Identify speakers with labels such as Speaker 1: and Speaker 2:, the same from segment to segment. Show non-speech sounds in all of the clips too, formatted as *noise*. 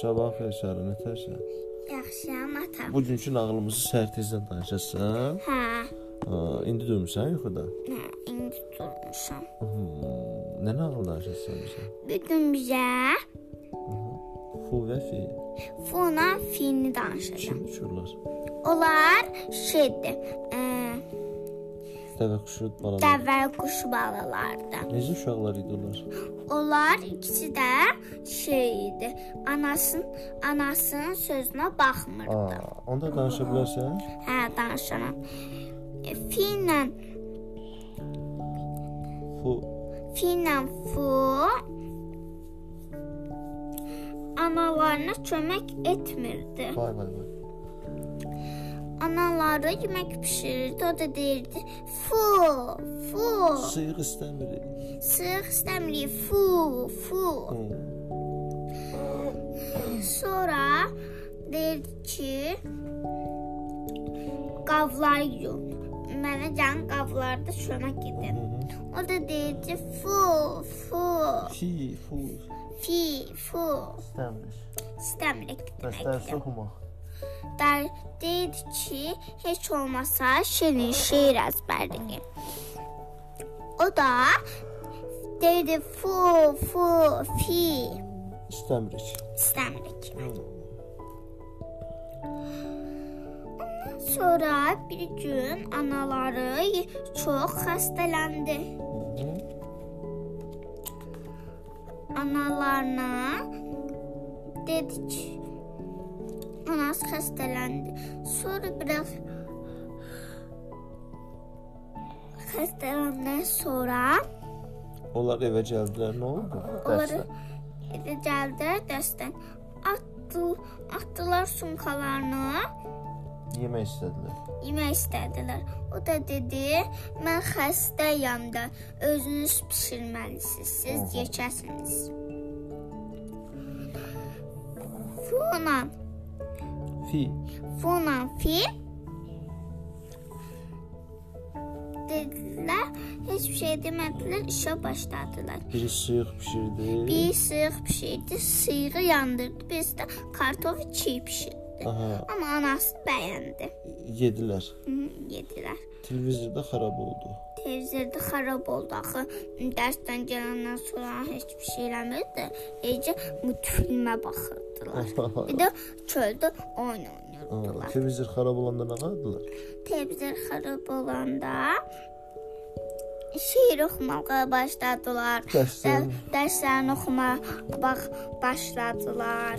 Speaker 1: Sabah xeyirsən, nətərsən?
Speaker 2: Yaxşıyam atam.
Speaker 1: Bugünkü nağılımızı sərtizlə danışasan.
Speaker 2: Hə,
Speaker 1: Ha, indi dönmüsən yuxuda.
Speaker 2: nə indi durmuşam.
Speaker 1: Hmm, Nə nağıl danışasan bizə?
Speaker 2: Bütün bizə
Speaker 1: Xu və fi.
Speaker 2: Funa fini danışacağam.
Speaker 1: Kim uçurlar?
Speaker 2: Onlar şeydir. E,
Speaker 1: Dəvə quşu balalar.
Speaker 2: dəvə quşu balalardı.
Speaker 1: Necə uşaqlar idi onlar?
Speaker 2: Onlar ikisi də şey idi. Anasının anasının sözünə baxmırdı.
Speaker 1: Aa, onda danışa bilərsən?
Speaker 2: Hə, danışaram. E, Finlə
Speaker 1: Xu
Speaker 2: Finlə fu analarına kömək etmirdi.
Speaker 1: vay vay vay.
Speaker 2: Anaları yemək bişirirdi, o da deyirdi: "Fu, fu,
Speaker 1: Sıyıq istəmir.
Speaker 2: sığ istəmirik, fu, fu."
Speaker 1: Hmm.
Speaker 2: Sonra deyirdi ki, "Qavlar yuyun. Mənə can qavlarda çömək edin." O da deyirdi: "Fu, fu,
Speaker 1: Fi, xu
Speaker 2: fi, fu."
Speaker 1: istəmir.
Speaker 2: İstəmirik deməkdir.
Speaker 1: oxuma.
Speaker 2: Dər deyirdi ki, heç olmasa şirin şeir əzbərləyin. O da deyirdi fu fu fi
Speaker 1: İstəmirik.
Speaker 2: istəmirik. Sonra bir gün anaları çox xəstələndi. Analarına dedi ki, anası xəstələndi. Sonra biraz xəstələndən sonra
Speaker 1: Onlar evə gəldilər, nə oldu?
Speaker 2: onları gəldi dəstən atdı, atdılar sumkalarını.
Speaker 1: yemək istədilər.
Speaker 2: yemək istədilər. O da dedi: "Mən xəstəyəm də, özünüz bişirməlisiniz, siz yeyəcəksiniz." Funan,
Speaker 1: Fi,
Speaker 2: Funan fi dedilər, heç bir şey demədilər, işə başladılar.
Speaker 1: biri sıyıq bişirdi.
Speaker 2: Bir sıyıq pişirdi, sıyığı yandırdı, birisi də kartof çiğ pişirdi.
Speaker 1: Aha,
Speaker 2: Amma anası bəyəndi.
Speaker 1: yedilər.
Speaker 2: Hı, Yedilər.
Speaker 1: Televizorda xarab oldu.
Speaker 2: Televizorda xarab oldu axı. Dərsdən gələndən sonra heç bir şey eləmirdi. Eləcə multfilmə baxırdılar.
Speaker 1: *laughs*
Speaker 2: Bir də çöldə oyun
Speaker 1: Ha,
Speaker 2: oynayırdılar.
Speaker 1: Televizor xarab olanda nə qaldılar?
Speaker 2: Televizor xarab olanda şeir oxumağa başladılar.
Speaker 1: Dərsdən-
Speaker 2: Də- Dərslərini oxumağa bax başladılar.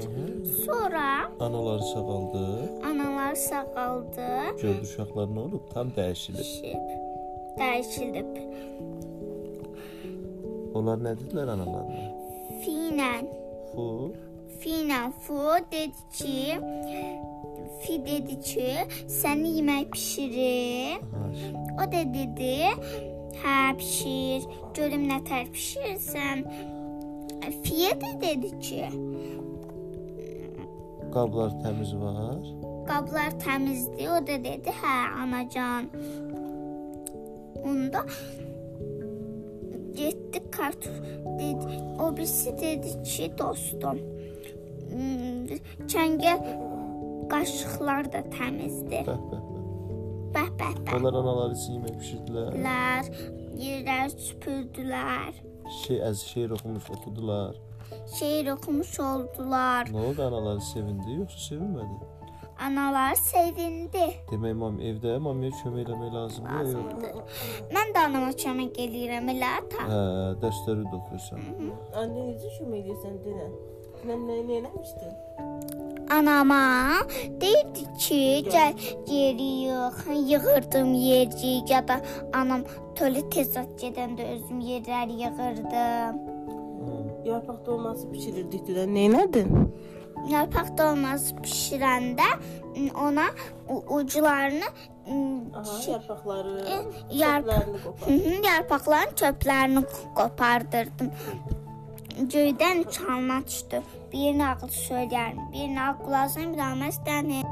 Speaker 2: Sonra
Speaker 1: Anaları sağaldı.
Speaker 2: analar sağaldı.
Speaker 1: Gördü uşaqlar nə olub? Tam dəyişilib.
Speaker 2: Şib dəyişilib.
Speaker 1: Onlar nə dedilər analarına?
Speaker 2: Finən
Speaker 1: Fu,
Speaker 2: Fina Fu dedi ki, Fi dedi ki, səni yemək pişirir.
Speaker 1: ha,
Speaker 2: O da dedi, hə pişir, görüm nə tər pişirirsən. Fiyə də dedi ki,
Speaker 1: qablar təmiz var.
Speaker 2: qablar təmizdir. O da dedi, hə anacan. Onda getdi kart dedi. O birisi dedi ki, dostum. m, Çəngəl qaşıqlar da təmizdir.
Speaker 1: Bəh, bəh, bəh.
Speaker 2: Bəh bəh bəh.
Speaker 1: Onlar anaları üçün yemək bişirdilər.
Speaker 2: Lər yerlər süpürdülər.
Speaker 1: Şey, əz şeir oxumuş, oxudular.
Speaker 2: Şeir oxumuş oldular.
Speaker 1: Nə oldu anaları sevindi, yoxsa sevinmədi?
Speaker 2: Analar sevindi.
Speaker 1: Demək mam evdə, mamaya kömək eləmək lazımdır. yox?
Speaker 2: Mən də anama kömək eləyirəm elə ata.
Speaker 1: Hə, dərsləri də oxuyursan.
Speaker 3: Anne necə kömək edirsən denə? Mən nə nə eləmişdim?
Speaker 2: Anama deyirdi ki, gəl yeri yığ, yığırdım yeri, ya da anam tölü tez at gedəndə özüm yerlər yığırdım.
Speaker 3: Yarpaq dolması bişirirdik də nə elədin?
Speaker 2: Yarpaq dolması bişirəndə m, ona u- uclarını m,
Speaker 3: Aha,
Speaker 2: şey-
Speaker 3: yarpaqları,
Speaker 2: yarpaq-
Speaker 3: yarpaqlarını
Speaker 2: Hı
Speaker 3: qopar.
Speaker 2: hı, yarpaqların çöplərini qopardırdım. Göydən çalma düşdü. Birinə ağıl söyləyərəm, birinə ağıl qulağına bir almaq istənim.